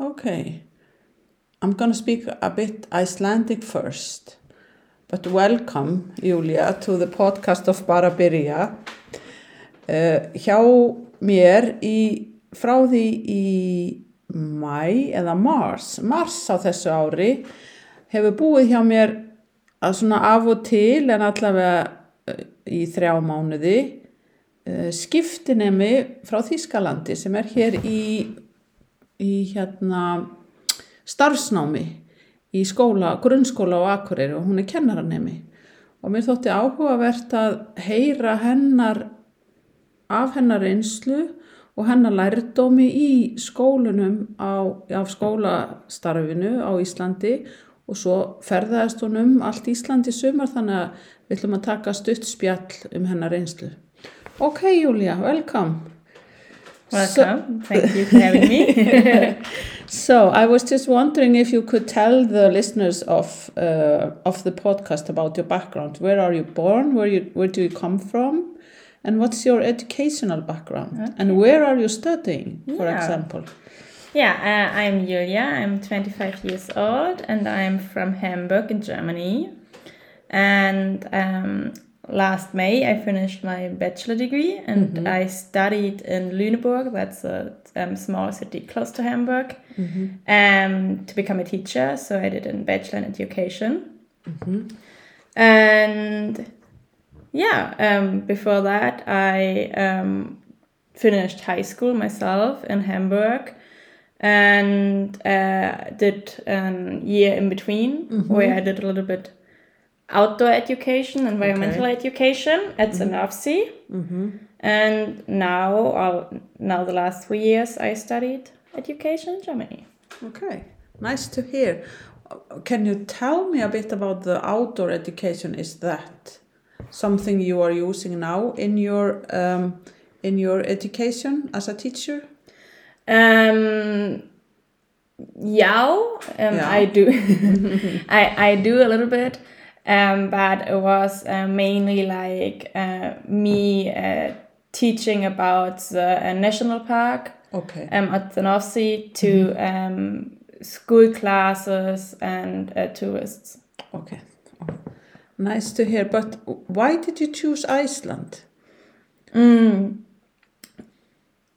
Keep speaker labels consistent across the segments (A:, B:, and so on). A: Okay. I'm going to speak a bit Icelandic first. But welcome, Julia, to the podcast of Barabyrja. Uh, hjá mér í, frá því í mæ eða mars, mars á þessu ári, hefur búið hjá mér að svona af og til en allavega uh, í þrjá mánuði uh, skiptinemi frá Þýskalandi sem er hér í, í hérna starfsnámi í skóla, grunnskóla á Akureyri og hún er kennaranemi og mér þótti áhugavert að heyra hennar af hennar einslu og hennar lærdómi í skólunum á, af skólastarfinu á Íslandi og svo ferðaðist hún um allt Íslandi í sumar þannig að við ætlum að taka stutt spjall um hennar einslu. Ok, Júlia, welcome.
B: Welcome. Thank you for having me.
A: So I was just wondering if you could tell the listeners of uh, of the podcast about your background. Where are you born? Where you where do you come from? And what's your educational background? And where are you studying, for
B: Yeah.
A: example?
B: yeah, uh, I'm Julia. I'm 25 years old and I'm from Hamburg in Germany. And um, last May, I finished my bachelor degree and I studied in Lüneburg, that's a um, small city close to Hamburg, um, to become a teacher. So I did a bachelor in education. And yeah, um, before that, I um, finished high school myself in Hamburg and uh, did a year in between where I did a little bit outdoor education, environmental education at Sanofsi. And now, uh, now the last three years, I studied education in Germany.
A: Okay, nice to hear. Uh, Can you tell me a bit about the outdoor education? Is that something you are using now in your um, in your education as a teacher?
B: Um, yeah, um,
A: Yeah.
B: I do. I I do a little bit, um, but it was uh, mainly like uh, me uh, teaching about the uh, national park
A: Okay.
B: um, at the North Sea to um, school classes and uh, tourists.
A: Okay. Nice to hear. But why did you choose Iceland?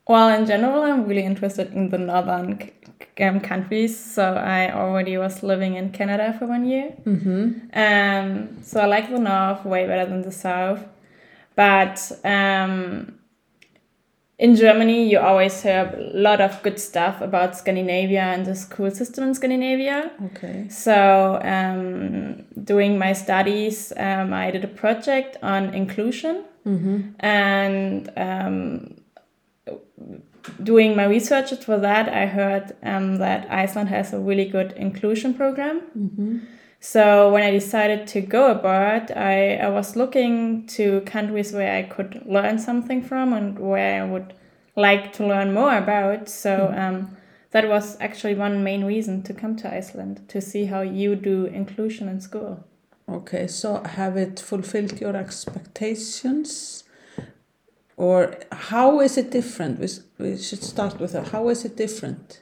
B: Well, in general, I'm really interested in the northern c- c- um, countries. So I already was living in Canada for one year. Mm-hmm. Um, so I like the north way better than the south. But um, in Germany, you always hear a lot of good stuff about Scandinavia and the school system in Scandinavia.
A: Okay.
B: So, um, doing my studies, um, I did a project on inclusion Mm-hmm. and um, doing my research for that, I heard um, that Iceland has a really good inclusion program.
A: Mm-hmm.
B: So, when I decided to go abroad, I, I was looking to countries where I could learn something from and where I would like to learn more about. So, um, that was actually one main reason to come to Iceland to see how you do inclusion in school.
A: Okay. So have it fulfilled your expectations? Or how is it different? We, s- we should start with that. How is it different?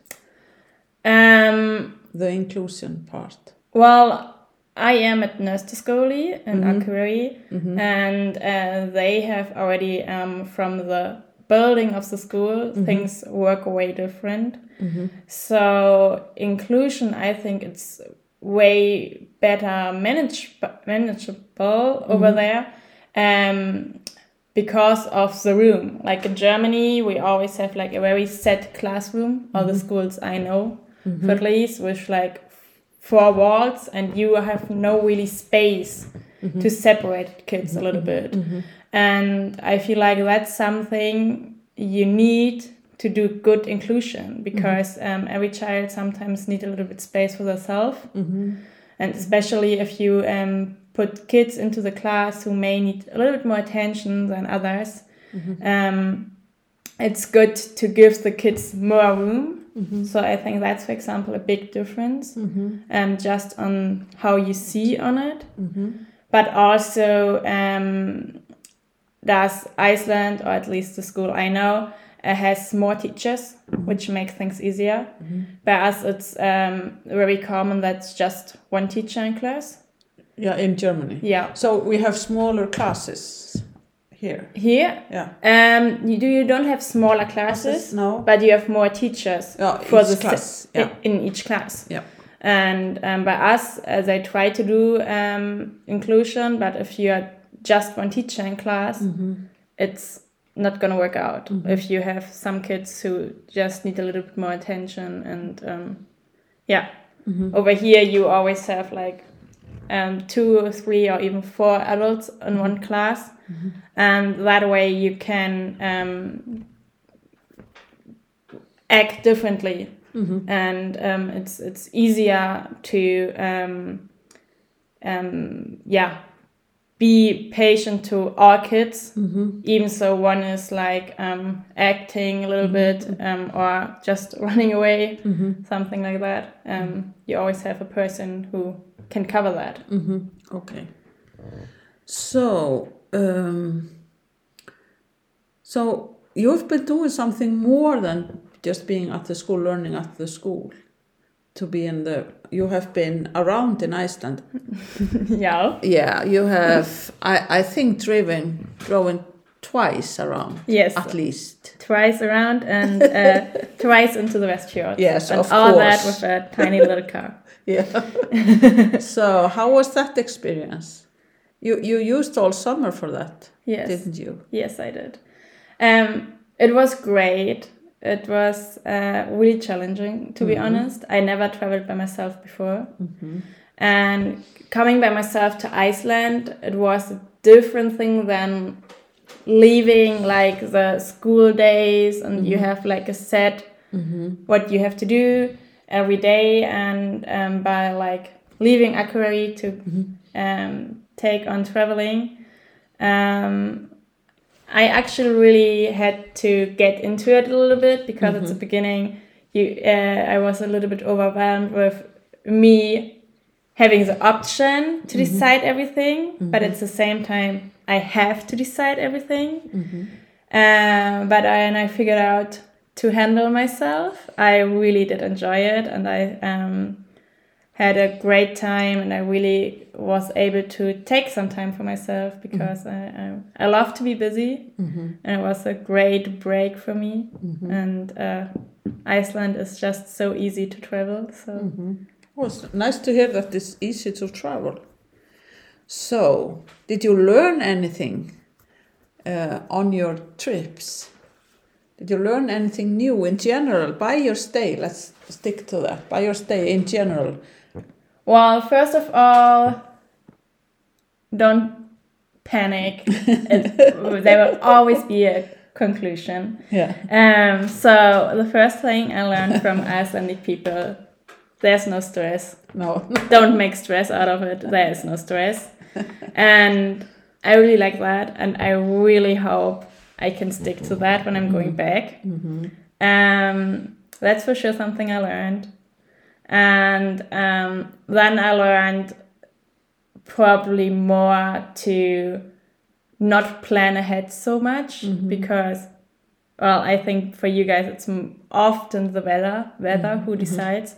B: Um,
A: The inclusion part.
B: Well, I am at Nöstaskoli in Akureyri,
A: Mm-hmm.
B: and uh, they have already um, from the building of the school things work way different.
A: Mm-hmm.
B: So inclusion, I think it's way better manage- manageable over there. Um, because of the room. Like in Germany, we always have like a very set classroom, all the schools I know, Mm-hmm.
A: Mm-hmm.
B: for at least, with like four walls, and you have no really space
A: Mm-hmm.
B: to separate kids a little bit. And I feel like that's something you need to do good inclusion because um, every child sometimes need a little bit space for themselves
A: Mm-hmm.
B: and especially if you um, put kids into the class who may need a little bit more attention than others um, it's good to give the kids more room
A: Mm-hmm.
B: so i think that's for example a big difference um, just on how you see on it
A: Mm-hmm.
B: but also um, does iceland or at least the school i know uh, has more teachers, which makes things easier.
A: Mm-hmm.
B: By us, it's um, very common that's just one teacher in class.
A: Yeah, in Germany.
B: Yeah.
A: So we have smaller classes here.
B: Here,
A: Yeah.
B: um, you do you don't have smaller classes,
A: No.
B: but you have more teachers
A: Yeah,
B: for
A: each
B: the
A: class,
B: si-
A: yeah.
B: in each class.
A: Yeah.
B: And um, by us, as I try to do um, inclusion, but if you are just one teacher in class, it's not gonna work out. If you have some kids who just need a little bit more attention, and um, yeah,
A: Oh.
B: over here you always have like um, two or three or even four adults in one class, and that way you can um, act differently
A: Mm-hmm.
B: and um, it's it's easier to um, um, yeah be patient to all kids
A: Mm-hmm.
B: even so one is like um, acting a little
A: Mm-hmm.
B: bit um, or just running away something like that
A: Mm-hmm.
B: um, you always have a person who can cover that
A: Mm-hmm. Okay. So, um, so you've been doing something more than just being at the school, learning at the school. To be in the, you have been around in Iceland.
B: yeah
A: Yeah, you have. I I think driven, driven twice around.
B: Yes.
A: at least.
B: twice around and uh, twice into the west fjord
A: Yes,
B: and
A: of
B: all that
A: course.
B: with a tiny little car
A: Yeah. so how was that experience? You you used all summer for that,
B: yes
A: didn't you?
B: Yes, I did. Um, it was great. It was uh, really challenging, to be
A: Mm-hmm.
B: honest. I never traveled by myself before. Mm-hmm. And coming by myself to Iceland, it was a different thing than leaving like the school days and you have like a set
A: Mm-hmm.
B: what you have to do every day and um, by like leaving Akureyri to um, take on traveling um, I actually really had to get into it a little bit because at the beginning, you uh, I was a little bit overwhelmed with me having the option to decide everything, but at the same time, I have to decide everything. Um, but I, and I figured out to handle myself. I really did enjoy it, and I um, had a great time, and I really was able to take some time for myself because I, I I love to be busy,
A: Mm-hmm.
B: and it was a great break for me. And uh, Iceland is just so easy to travel, so
A: Mm. Well, it's Mm-hmm. nice to hear that it's easy to travel. So, did you learn anything uh, on your trips? Did you learn anything new in general by your stay? Let's stick to that. By your stay in general.
B: Well, first of all, don't panic. It, there will always be a conclusion.
A: Yeah.
B: Um, so the first thing I learned from Icelandic people, there's no stress.
A: No.
B: Don't make stress out of it. There is no stress. And I really like that. And I really hope I can stick to that when I'm going back.
A: Mm-hmm.
B: Um, that's for sure something I learned. And um, then I learned probably more to not plan ahead so much because, well, I think for you guys it's m- often the weather, weather who decides.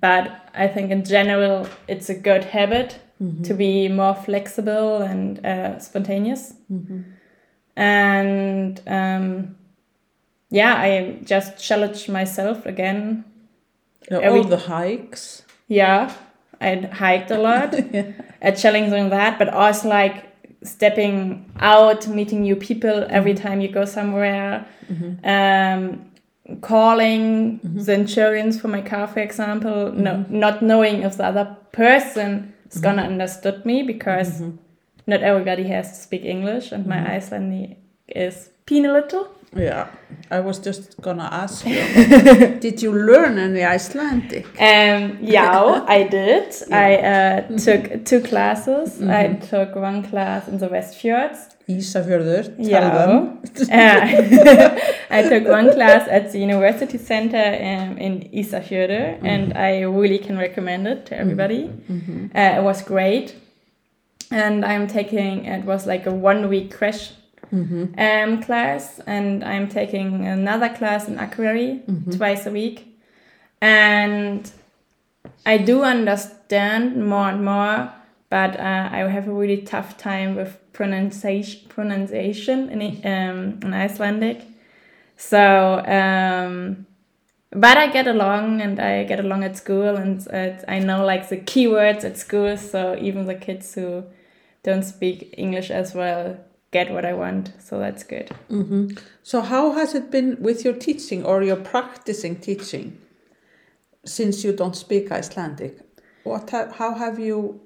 B: But I think in general it's a good habit to be more flexible and uh, spontaneous.
A: Mm-hmm.
B: And um, yeah, I just challenged myself again
A: Yeah,
B: Every-
A: all the hikes.
B: yeah, I hiked a lot.
A: Yeah.
B: I challenged on that, but also like stepping out, meeting new people every time you go somewhere, um, calling the insurance for my car, for example. No, not knowing if the other person is gonna understood me because
A: Mm-hmm.
B: not everybody has to speak English, and my Icelandic is peen a little.
A: Yeah. I was just gonna ask you. did you learn any Icelandic?
B: Um, yeah, I did. I uh, took two classes. I
A: Mm-hmm.
B: took one class in the West Fjords.
A: Ísafjörður, tell
B: Yeah.
A: them.
B: Uh, I took one class at the University Center um, in Isafjordur,
A: Mm-hmm.
B: and I really can recommend it to everybody. Mm-hmm. Uh, it was great. And I'm taking, it was like a one week crash
A: Mm-hmm.
B: um, class, and I'm taking another class in aquary twice a week. And I do understand more and more, but uh, I have a really tough time with pronunciation pronunciation in I- um, in Icelandic. So, um, but I get along and I get along at school, and uh, I know like the keywords at school. So even the kids who don't speak English as well get what I want. So that's good.
A: Mm-hmm. So, how has it been with your teaching or your practicing teaching since you don't speak Icelandic? What ha- how have you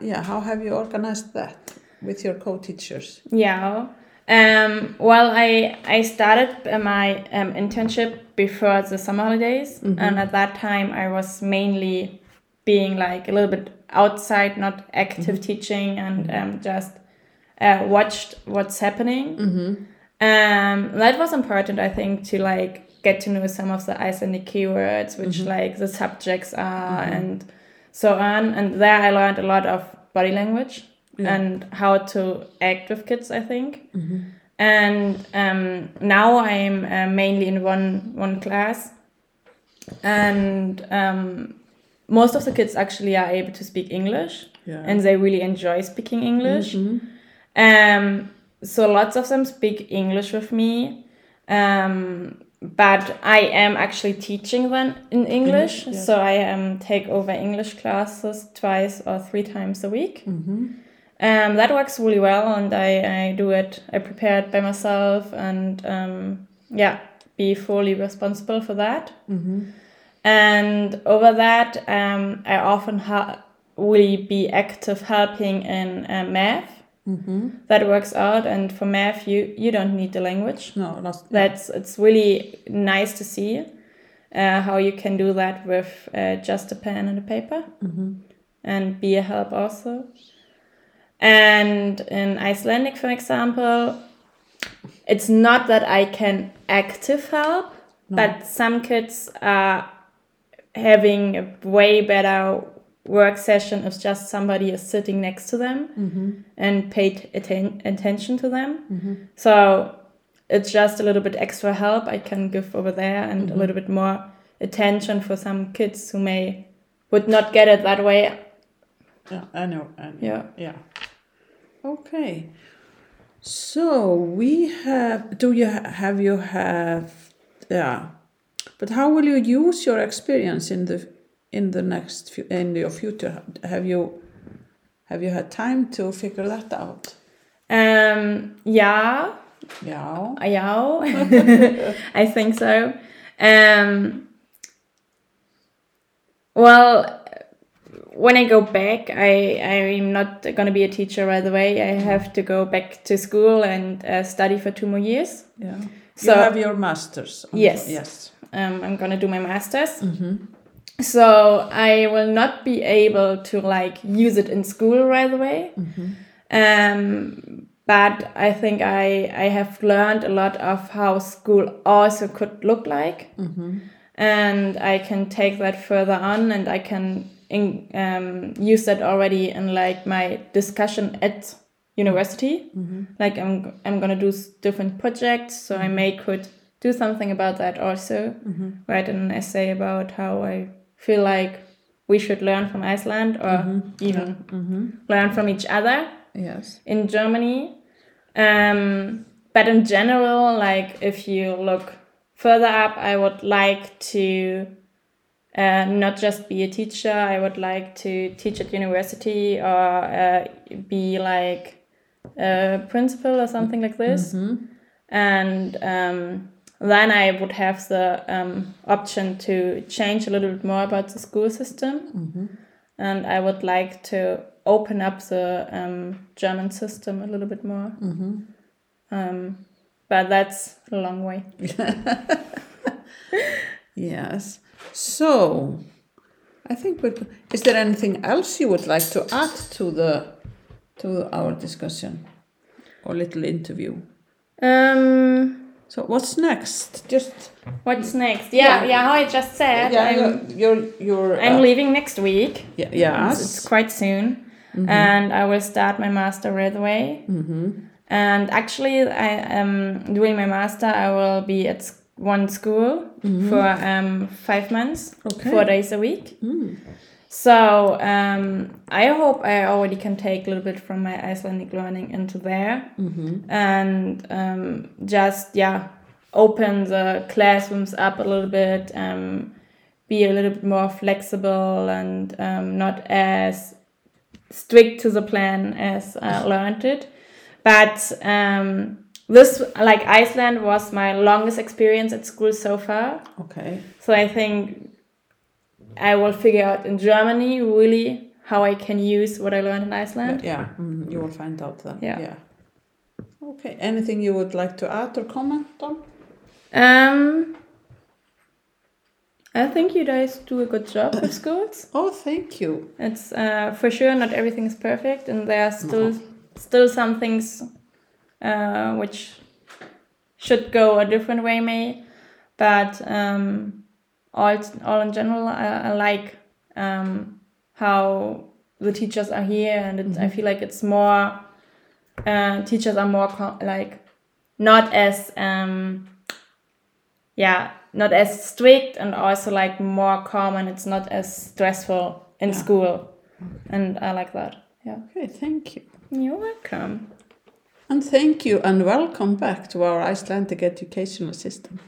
A: yeah, how have you organized that with your co-teachers?
B: Yeah. Um, well, I I started uh, my um, internship before the summer holidays, and at that time I was mainly being like a little bit outside, not active teaching, and um, just uh, watched what's happening.
A: Mm-hmm.
B: Um, that was important, I think, to like get to know some of the Icelandic keywords, which like the subjects are, and so on. And there I learned a lot of body language and how to act with kids, I think.
A: Mm-hmm.
B: And um, now I'm uh, mainly in one one class, and um, most of the kids actually are able to speak English,
A: Yeah. Mm-hmm.
B: and they really enjoy speaking English. Um, so lots of them speak English with me, um, but I am actually teaching them in English.
A: yes.
B: So I um, take over English classes twice or three times a week.
A: Mm-hmm.
B: Um, that works really well, and I, I do it. I prepare it by myself, and um, yeah, be fully responsible for that.
A: Mm-hmm.
B: And over that, um, I often ha- will be active helping in uh, math.
A: Mm-hmm.
B: That works out, and for math, you you don't need the language.
A: No, not
B: That's it's really nice to see uh, how you can do that with uh, just a pen and a paper,
A: Mm-hmm.
B: and be a help also. And in Icelandic, for example, it's not that I can active help, but some kids are having a way better work session if just somebody is sitting next to them and paid atten- attention to them. So it's just a little bit extra help I can give over there and a little bit more attention for some kids who may would not get it that way.
A: yeah, I know, I know.
B: Yeah.
A: Yeah. Okay. So we have. Do you ha- have you have? Yeah. But how will you use your experience in the in the next few, in your future? Have you have you had time to figure that out?
B: Um yeah, Uh,
A: Yeah.
B: yeah. I think so. Um well when I go back, I I'm not gonna be a teacher right away. I have to go back to school and uh, study for two more years.
A: Yeah.
B: So-
A: you have your masters. on-
B: Yes. Mm-hmm.
A: Yes.
B: um, I'm gonna do my masters. So I will not be able to like use it in school right away. Um, but I think I I have learned a lot of how school also could look like,
A: Mm-hmm.
B: and I can take that further on, and I can in, um, use that already in like my discussion at university.
A: Mm-hmm.
B: Like I'm I'm gonna do s- different projects, so I may could do something about that also. Write an essay about how I feel like we should learn from Iceland or Uh,
A: Mm-hmm.
B: even learn from each other
A: Yes.
B: in Germany. Um, but in general, like if you look further up, I would like to uh, not just be a teacher. I would like to teach at university or uh, be like a principal or something like this.
A: Mm-hmm.
B: And um, then I would have the um, option to change a little bit more about the school system
A: Mm-hmm.
B: and I would like to open up the um, German system a little bit more.
A: Mm-hmm.
B: Um, but that's a long way.
A: Yes. So, I think we're. Is there anything else you would like to add to the to our discussion or little interview?
B: Um,
A: So what's next? Just
B: what's next?
A: Yeah.
B: Yeah, yeah. how I just said, I'm,
A: you're you're.
B: I'm leaving next week.
A: uh, yeah,
B: It's- Uh, It's
A: yes. Mm-hmm.
B: quite soon, and I will start my master right away. And actually, I um, doing my master. I will be at s- one school for um, five months,
A: Mm-hmm. Okay. Mm-hmm.
B: four days a week. So um, I hope I already can take a little bit from my Icelandic learning into there,
A: Mm-hmm.
B: and um, just yeah, open the classrooms up a little bit. Um, be a little bit more flexible and um, not as strict to the plan as I learned it. But um, this, like Iceland, was my longest experience at school so far.
A: Okay.
B: So I think I will figure out in Germany really how I can use what I learned in Iceland.
A: Yeah, mhm, you will find out then.
B: Yeah.
A: Okay. Anything you would like to add or comment on?
B: Um, I think you guys do a good job with schools.
A: Oh, thank you.
B: It's uh, for sure not everything is perfect, and there are still
A: No.
B: still some things uh, which should go a different way, may. But um, all all in general, I, I like um, how the teachers are here, and it's, I feel like it's more uh, teachers are more co- like not as um, yeah not as strict and also like more calm and it's not as stressful in
A: Yeah.
B: school and i like that yeah
A: Okay, thank you.
B: you're welcome
A: And thank you and welcome back to our Icelandic educational system.